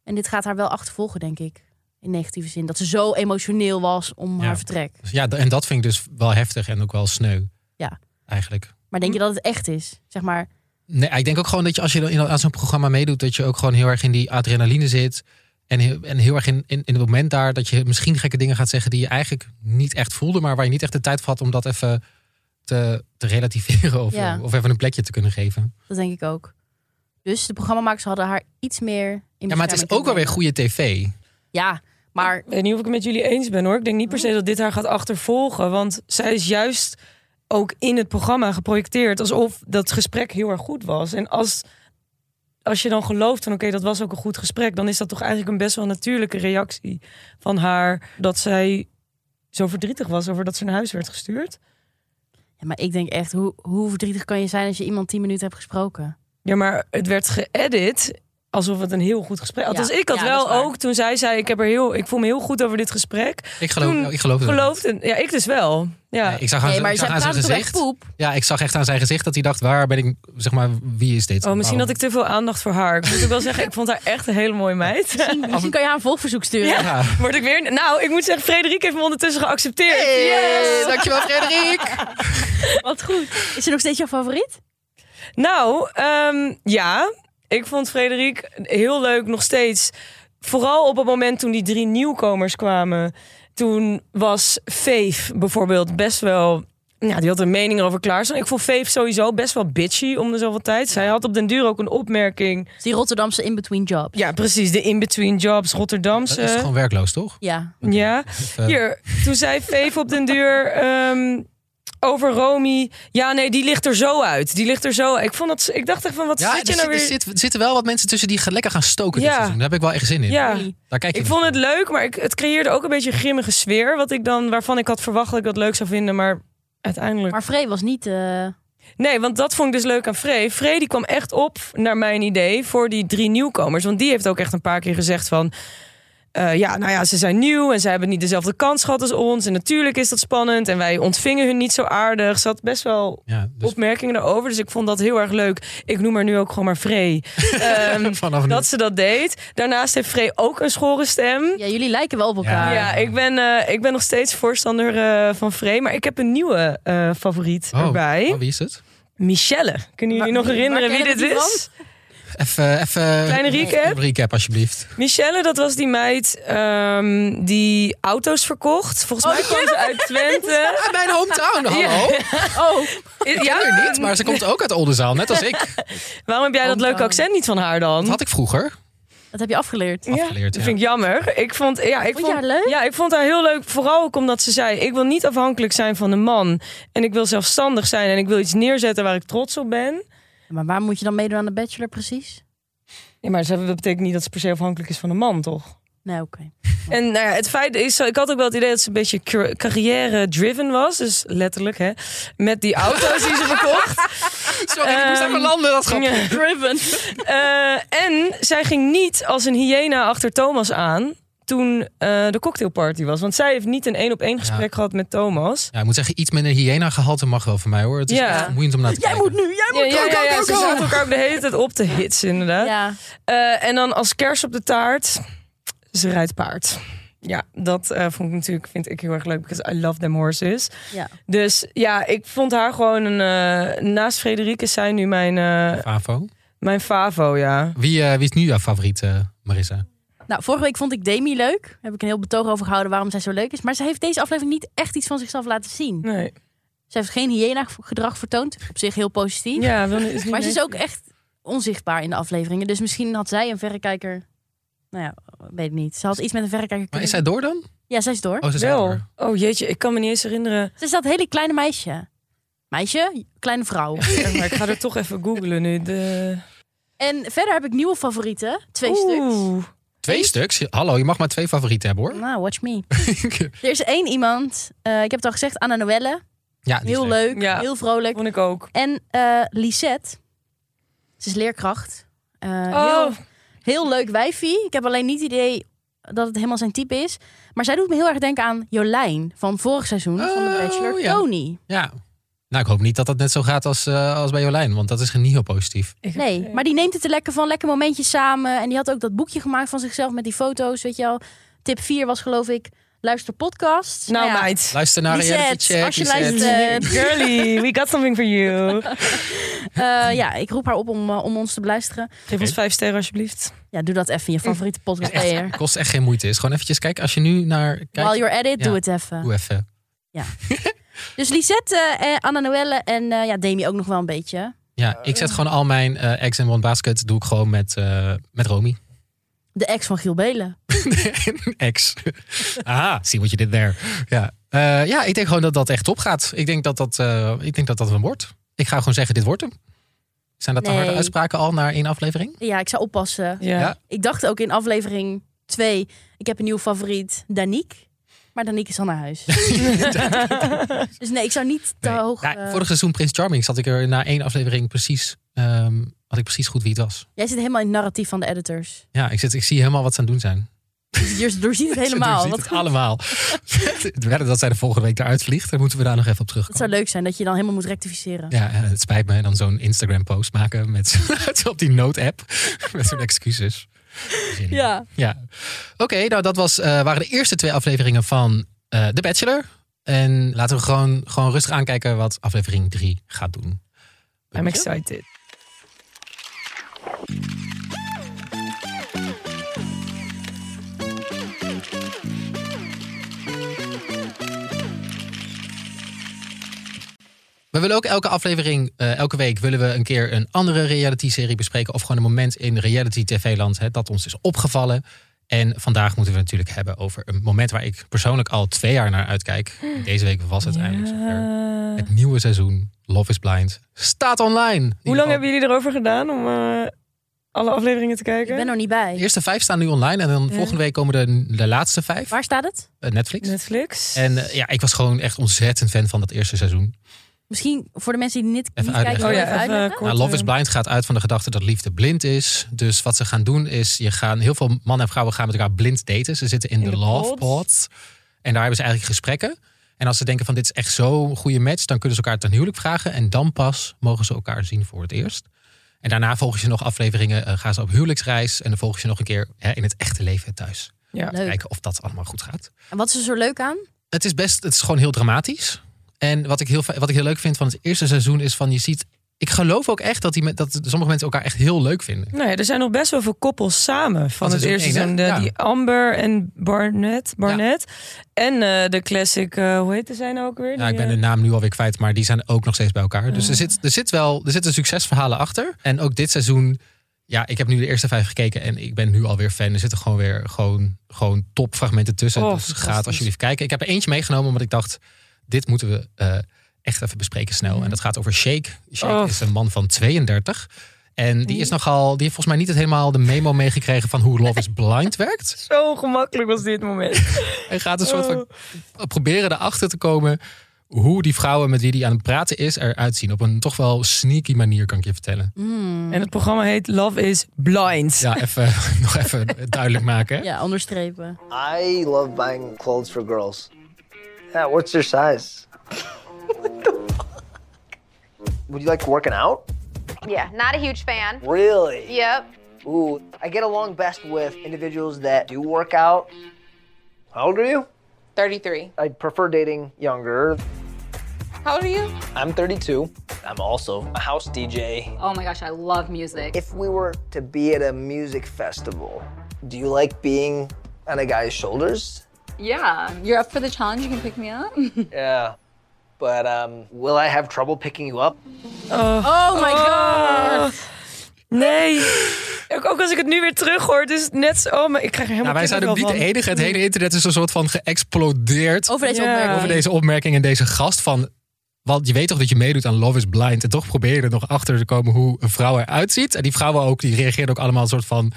S3: En dit gaat haar wel achtervolgen, denk ik. In negatieve zin. Dat ze zo emotioneel was om
S2: Ja.
S3: haar vertrek.
S2: Dus ja, d- en dat vind ik dus wel heftig en ook wel sneu.
S3: Ja.
S2: Eigenlijk.
S3: Maar denk je dat het echt is? Zeg maar,
S2: Nee, ik denk ook gewoon dat je als je dan in- aan zo'n programma meedoet, dat je ook gewoon heel erg in die adrenaline zit. En heel, en heel erg in, in, in het moment daar dat je misschien gekke dingen gaat zeggen die je eigenlijk niet echt voelde, maar waar je niet echt de tijd voor had om dat even te, te relativeren of,
S3: Ja.
S2: of even een plekje te kunnen geven.
S3: dat denk ik ook. Dus de programmamakers hadden haar iets meer in
S2: Ja, maar het is
S3: bescherming kunnen
S2: ook wel weer
S3: nemen.
S2: goede tv.
S3: Ja, maar
S1: Ik weet niet of ik het met jullie eens ben hoor. Ik denk niet per se dat dit haar gaat achtervolgen. Want zij is juist ook in het programma geprojecteerd alsof dat gesprek heel erg goed was. En als, als je dan gelooft van oké, dat was ook een goed gesprek, dan is dat toch eigenlijk een best wel natuurlijke reactie van haar dat zij zo verdrietig was over dat ze naar huis werd gestuurd.
S3: Ja, maar ik denk echt, hoe, hoe verdrietig kan je zijn als je iemand tien minuten hebt gesproken?
S1: Ja, maar het werd geëdit alsof het een heel goed gesprek. Althans, ik had
S3: ja, dat
S1: wel
S3: is waar.
S1: ook toen zij zei ik heb er heel ik voel me heel goed over dit gesprek.
S2: Ik geloof,
S1: Toen
S2: ik geloof het.
S1: Geloofde ja, ik dus wel. Ja.
S2: Nee, ik zag aan,
S3: nee, maar
S2: ik zag
S3: zij
S2: aan zijn
S3: praten toch echt
S2: gezicht.
S3: poep?
S2: Ja, ik zag echt aan zijn gezicht dat hij dacht: waar ben ik, zeg maar, wie is dit?
S1: Oh, misschien had
S2: Waarom?
S1: ik te veel aandacht voor haar. Ik moet ook wel zeggen, ik vond haar echt een hele mooie meid.
S3: Misschien kan je haar een volgverzoek sturen.
S1: Ja.
S2: Ja.
S1: Word ik weer... Nou, ik moet zeggen, Frederik heeft me ondertussen geaccepteerd.
S2: Yes, dankjewel, Frederik.
S3: Wat goed. Is ze nog steeds jouw favoriet?
S1: Nou, ehm, ja. Ik vond Frederik heel leuk nog steeds. Vooral op het moment toen die drie nieuwkomers kwamen. Toen was Veef bijvoorbeeld best wel... Ja, die had een mening over klaarstaan. Ik vond Veef sowieso best wel bitchy om de zoveel tijd. Zij had op den duur ook een opmerking.
S3: Is die Rotterdamse in-between job.
S1: Ja, precies. De in-between jobs, Rotterdamse.
S3: Dus,
S2: Dat
S3: eh,
S2: is gewoon werkloos, toch?
S3: Ja.
S1: Ja.
S2: Of, eh,
S1: Hier, toen zei Veef op den duur... ehm, over Romy. Ja, nee, die ligt er zo uit. Die ligt er zo. Ik, vond dat, ik dacht echt van, wat
S2: Ja,
S1: zit
S2: er,
S1: je nou
S2: zit-
S1: weer?
S2: er zit- zitten wel wat mensen tussen die ge- lekker gaan stoken dit
S1: Ja.
S2: seizoen. Daar heb ik wel echt zin in.
S1: ja.
S2: Daar kijk je
S1: Ik
S2: naar.
S1: vond het leuk, maar ik, het creëerde ook een beetje een grimmige sfeer. Wat ik dan, waarvan ik had verwacht dat ik dat leuk zou vinden, maar uiteindelijk...
S3: Maar Frey was niet... eh,
S1: Nee, want dat vond ik dus leuk aan Frey. Frey die kwam echt op, naar mijn idee, voor die drie nieuwkomers. Want die heeft ook echt een paar keer gezegd van... eh, ja, nou ja, ze zijn nieuw en ze hebben niet dezelfde kans gehad als ons. En natuurlijk is dat spannend en wij ontvingen hun niet zo aardig. Ze had best wel
S2: Ja, dus
S1: opmerkingen daarover. Dus ik vond dat heel erg leuk. Ik noem haar nu ook gewoon maar Frey. Ehm,
S2: vanaf nu.
S1: dat ze dat deed. Daarnaast heeft Frey ook een schorre stem.
S3: ja, jullie lijken wel op elkaar.
S2: Ja.
S1: Ja, ik ben, eh, ik ben nog steeds voorstander eh, van Frey. Maar ik heb een nieuwe eh, favoriet
S2: Oh,
S1: erbij.
S2: oh, wie is het?
S1: Michelle. Kunnen jullie
S3: Wa-
S1: nog herinneren
S3: waar
S1: wie dit
S3: kennen we die
S1: is?
S2: Even, even
S1: Kleine recap?
S2: recap alsjeblieft.
S1: Michelle, dat was die meid ehm, die auto's verkocht. Volgens mij kwam ze uit Twente.
S2: Ah, mijn hometown, hallo.
S1: Oh, ja,
S2: Tuurlijk niet, maar ze komt ook uit Oldenzaal, net als ik.
S1: Waarom heb jij dat leuke
S3: Hometown.
S1: accent niet van haar dan?
S2: Dat had ik vroeger.
S3: Dat heb je afgeleerd.
S1: Ja,
S2: afgeleerd,
S1: dat
S2: ja.
S1: vind ik jammer. Ik vond, ja, ik
S3: Vond je haar leuk?
S1: Ja, ik vond haar heel leuk. Vooral ook omdat ze zei: Ik wil niet afhankelijk zijn van een man. En ik wil zelfstandig zijn. En ik wil iets neerzetten waar ik trots op ben.
S3: Maar waar moet je dan meedoen aan de Bachelor precies?
S1: Ja, maar ze- dat betekent niet dat ze per se afhankelijk is van een man, toch?
S3: Nee, oké.
S1: En nou ja, het feit is, ik had ook wel het idee dat ze een beetje cur- carrière-driven was. Dus letterlijk, hè. Met die auto's die ze verkocht.
S2: Sorry, ik moest
S1: Ehm,
S2: even landen, dat grapje.
S1: Ja.
S3: Driven.
S1: Eh, en zij ging niet als een hyena achter Thomas aan toen eh, de cocktailparty was. Want zij heeft niet een één-op-één gesprek gehad met Thomas.
S2: Ja, ik moet zeggen, iets minder hyena-gehalte mag wel van mij, hoor. Het is
S1: Ja.
S2: echt vermoeiend om naar te kijken.
S3: Moet nu, jij
S1: Ja,
S3: moet...
S1: ja, ja, ja, ze zaten elkaar ook de hele tijd op te hitsen, inderdaad.
S3: Ja,
S1: Eh, en dan als kers op de taart, ze rijdt paard. Ja, dat eh, vond ik natuurlijk vind ik heel erg leuk, because I love them horses.
S3: ja.
S1: Dus ja, ik vond haar gewoon een... eh, naast Frederike is zij nu mijn, eh,
S2: Favo.
S1: mijn favo, ja.
S2: Wie, eh, wie is nu jouw favoriet, eh, Marissa?
S3: Nou, vorige week vond ik Demi leuk. Daar heb ik een heel betoog over gehouden waarom zij zo leuk is. Maar ze heeft deze aflevering niet echt iets van zichzelf laten zien.
S1: Nee.
S3: Ze heeft geen hyena-gedrag vertoond. Op zich heel positief.
S1: Ja, wil is niet
S3: Maar ze
S1: mee.
S3: is ook echt onzichtbaar in de afleveringen. Dus misschien had zij een verrekijker... Nou ja, weet ik niet. Ze had iets met een verrekijker
S2: Maar
S3: kunnen
S2: is zij door dan?
S3: doen. Ja, zij is door.
S2: Oh, ze is
S1: Wel.
S2: door.
S1: Oh jeetje, ik kan me niet eens herinneren.
S3: Ze is dat hele kleine meisje. Meisje, kleine vrouw.
S1: Zeg maar ik ga er toch even googlen nu. De...
S3: En verder heb ik nieuwe favorieten. Twee stuks.
S1: Oeh.
S2: Twee stuks? Hallo, je mag maar twee favorieten hebben, hoor.
S3: Nou, watch me. er is één iemand, eh, ik heb het al gezegd, Anna Noelle.
S2: Ja, Ah, die is
S3: Heel
S2: leuk.
S3: leuk,
S1: Ja.
S3: heel vrolijk.
S1: Vond ik ook.
S3: En eh Lisette, ze is leerkracht. Eh,
S1: Oh,
S3: heel, heel leuk wijfie. Ik heb alleen niet het idee dat het helemaal zijn type is. Maar zij doet me heel erg denken aan Jolijn van vorig seizoen van de
S2: Oh,
S3: Bachelor.
S2: ja.
S3: Tony.
S2: Ja. Nou, ik hoop niet dat dat net zo gaat als, eh, als bij Jolijn, want dat is niet heel positief.
S3: Nee, maar die neemt het er lekker van. Lekker momentjes samen. En die had ook dat boekje gemaakt van zichzelf met die foto's. Weet je wel. Tip 4 was geloof ik, luister podcasts.
S1: nou
S3: ja,
S1: meid.
S2: Luister naar
S3: Lisette,
S2: Reality Check.
S3: als je
S2: Lisette.
S3: luistert. Eh,
S1: Girly, we got something for you.
S3: eh, ja, ik roep haar op om, eh, om ons te beluisteren.
S1: Geef ons vijf sterren alsjeblieft.
S3: Ja, doe dat even in je favoriete podcast player.
S2: Kost echt geen moeite. Is gewoon eventjes kijken. Als je nu naar kijkt,
S3: While you're at it,
S2: Ja.
S3: doe het even.
S2: doe even.
S3: Dus Lisette, eh, eh, Anna Noelle en eh, ja, Demi ook nog wel een beetje.
S2: Ja, ik zet gewoon al mijn eh eggs in one basket. Doe ik gewoon met, eh, met Romy.
S3: De ex van Giel Belen.
S2: Ex. Aha, zie wat je dit there. Ja. Eh, ja, ik denk gewoon dat dat echt op gaat. Ik denk dat dat, eh, ik denk dat dat hem wordt. Ik ga gewoon zeggen, dit wordt hem. Zijn dat de harde
S3: Nee.
S2: uitspraken al naar één aflevering?
S3: Ja, ik zou oppassen.
S1: Ja.
S2: Ja.
S3: Ik dacht ook in aflevering 2, ik heb een nieuw favoriet, Danique. Maar Danique is al naar huis. dus nee, ik zou niet te
S2: Nee.
S3: hoog...
S2: Nou,
S3: eh,
S2: vorig seizoen Prins Charming zat ik er na één aflevering precies... ehm, had ik precies goed wie het was.
S3: Jij zit helemaal in het narratief van de editors.
S2: Ja, ik, zit, ik zie helemaal wat ze aan het doen zijn.
S3: Je doorziet het helemaal.
S2: Ze doorziet
S3: Wat
S2: het allemaal. Het werden dat zij de volgende week eruit vliegt. Daar moeten we daar nog even op
S3: Het
S2: terugkomen.
S3: zou leuk zijn dat je dan helemaal moet rectificeren.
S2: Ja, eh, het spijt me. En dan zo'n Instagram-post maken met op die nood-app. met zo'n excuses. Zin in.
S3: Ja.
S2: ja. Oké, nou dat was, eh, waren de eerste twee afleveringen van eh The Bachelor. En laten we gewoon, gewoon rustig aankijken wat aflevering 3 gaat doen.
S1: I'm excited.
S2: We willen ook elke aflevering, eh, elke week willen we een keer een andere reality serie bespreken. Of gewoon een moment in reality tv land hè, dat ons is opgevallen. En vandaag moeten we het natuurlijk hebben over een moment waar ik persoonlijk al twee jaar naar uitkijk. Deze week was het eindelijk zover.
S1: Eh,
S2: Het nieuwe seizoen Love is Blind staat online.
S1: hoe lang hebben jullie erover gedaan om eh, alle afleveringen te
S3: Ik
S1: kijken?
S3: ben er niet bij.
S2: De eerste vijf staan nu online en dan volgende week komen de, de laatste vijf.
S3: Waar staat het?
S2: eh, Netflix.
S1: Netflix.
S2: En eh, ja, ik was gewoon echt ontzettend fan van dat eerste seizoen.
S3: Misschien voor de mensen die niet, niet
S2: uitleggen.
S3: kijken,
S1: oh
S3: wil
S1: ja,
S3: je even
S1: even
S3: uitleggen.
S1: kort,
S2: Nou, Love is
S1: eh,
S2: Blind gaat uit van de gedachte dat liefde blind is. Dus wat ze gaan doen is, je gaan, heel veel mannen en vrouwen gaan met elkaar blind daten. Ze zitten in, de,
S1: de
S2: love
S1: pods.
S2: pods. En daar hebben ze eigenlijk gesprekken. En als ze denken van dit is echt zo'n goede match, dan kunnen ze elkaar ten huwelijk vragen. En dan pas mogen ze elkaar zien voor het eerst. En daarna volgen ze nog afleveringen, eh, gaan ze op huwelijksreis. En dan volgen ze nog een keer hè, in het echte leven thuis.
S1: eh, Ja.
S3: Leuk.
S2: Kijken of dat allemaal goed gaat.
S3: En wat is er zo leuk aan?
S2: het is best, het is gewoon heel dramatisch. En wat ik heel, wat ik heel leuk vind van het eerste seizoen is van je ziet. Ik geloof ook echt dat, die, me- dat sommige mensen elkaar echt heel leuk vinden.
S1: Nou ja, er zijn nog best wel veel koppels samen van
S2: Van
S1: het eerste
S2: seizoen
S1: seizoen.
S2: één,
S1: De-
S2: hè? Ja.
S1: Die Amber en Barnett. Barnett. En eh, de classic, eh, hoe heette zij nou ook weer?
S2: Ja,
S1: Die,
S2: ik ben
S1: eh,
S2: de naam nu alweer kwijt, maar die zijn ook nog steeds bij elkaar.
S1: Ah.
S2: Dus er, zit, er, zit wel, er zitten succesverhalen achter. En ook dit seizoen, ja, ik heb nu de eerste vijf gekeken en ik ben nu alweer fan. Er zitten gewoon weer gewoon, gewoon topfragmenten tussen.
S1: Oh,
S2: dus ga het
S1: fantastisch.
S2: alsjeblieft kijken. Ik heb er eentje meegenomen, omdat ik dacht, dit moeten we eh, echt even bespreken snel. En dat gaat over Shake.
S1: Mhm.
S2: Shake
S1: Oh. Mhm.
S2: is een man van 32. En die is nogal, die heeft volgens mij niet het helemaal de memo meegekregen van hoe Love is Blind werkt.
S1: Zo gemakkelijk was dit moment.
S2: Hij gaat een soort van proberen erachter te komen hoe die vrouwen met wie hij aan het praten is eruit zien. Op een toch wel sneaky manier, kan ik je vertellen.
S1: En het programma heet Love is Blind.
S2: Ja, even, nog even duidelijk maken. Nou, hè?
S3: Ja, onderstrepen.
S8: I love buying clothes for girls. Yeah, what's their size? what the fuck? Would you like working out?
S9: Yeah, not a huge fan.
S8: Really?
S9: Yep.
S8: Ooh, I get along best with individuals that do work out. How old are you?
S4: 33.
S8: I prefer dating younger.
S4: How old are you?
S8: I'm 32. I'm also a house DJ.
S7: Oh my gosh, I love music.
S8: If we were to be at a music festival, do you like being on a guy's shoulders?
S7: Yeah, you're up for the challenge. You can pick me up.
S8: Yeah. But um, will I have trouble picking you up?
S3: Oh my god.
S1: Nee. Ook, ook als ik het nu weer terug hoor, het is net zo... Oh, maar ik krijg er helemaal
S2: Nou, wij zijn ook niet
S1: kippenvel
S2: de enige. Het hele internet is een soort van geëxplodeerd
S3: Over deze
S1: Ja.
S3: opmerking.
S2: over deze opmerking en deze gast van... Want je weet toch dat je meedoet aan Love is Blind. En toch probeer je er nog achter te komen hoe een vrouw eruit ziet. En die vrouwen ook, die reageerden ook allemaal een soort van...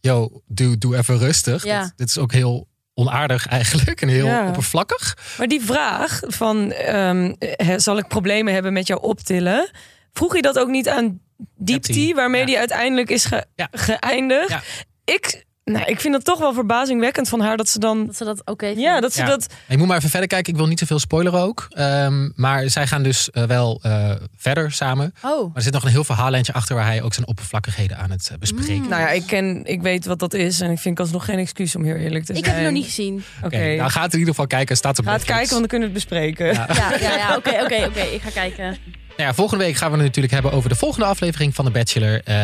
S2: Yo, doe, doe even rustig.
S3: Ja.
S2: Dat- dit is ook heel onaardig eigenlijk. En heel
S1: Ja.
S2: oppervlakkig.
S1: Maar die vraag van, ehm, eh, zal ik problemen hebben met jou optillen? Vroeg je dat ook niet aan Diepti,
S2: Diepti,
S1: waarmee
S2: ja.
S1: die uiteindelijk is ge-
S2: Ja.
S1: geëindigd?
S2: Ja.
S1: Ik, nou, ik vind dat toch wel verbazingwekkend van haar dat ze dan...
S3: Dat ze dat oké
S1: Ja, dat ze
S2: Ja.
S1: dat...
S2: Ik moet maar even verder kijken. Ik wil niet te veel spoileren ook. Ehm, maar zij gaan dus eh, wel eh, verder samen.
S3: Oh,
S2: Maar er zit nog een heel verhaallijntje achter waar hij ook zijn oppervlakkigheden aan het eh, bespreken. is.
S1: Nou ja, ik, ken, ik weet wat dat is en ik vind alsnog geen excuus om heel eerlijk te
S3: ik
S1: zijn.
S3: heb het nog niet gezien.
S1: Oké,
S2: Oké, nou ga het in ieder geval kijken. Staat op
S1: ga het
S2: Netflix.
S1: kijken, want dan kunnen we het bespreken.
S3: Ja, ja, ja. Oké, oké, oké. Ik ga kijken.
S2: Nou ja, volgende week gaan we het natuurlijk hebben over de volgende aflevering van The Bachelor. Ehm,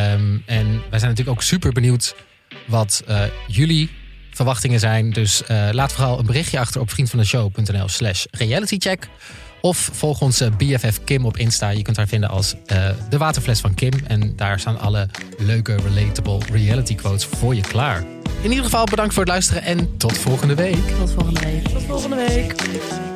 S2: en wij zijn natuurlijk ook super benieuwd wat eh, jullie verwachtingen zijn. Dus eh, laat vooral een berichtje achter op vriendvandeshow.nl slash realitycheck. Of volg eh, onze BFF Kim op Insta. Je kunt haar vinden als eh, de waterfles van Kim. En daar staan alle leuke, relatable reality quotes voor je klaar. In ieder geval bedankt voor het luisteren en tot volgende week.
S3: Tot volgende week.
S1: Tot volgende week.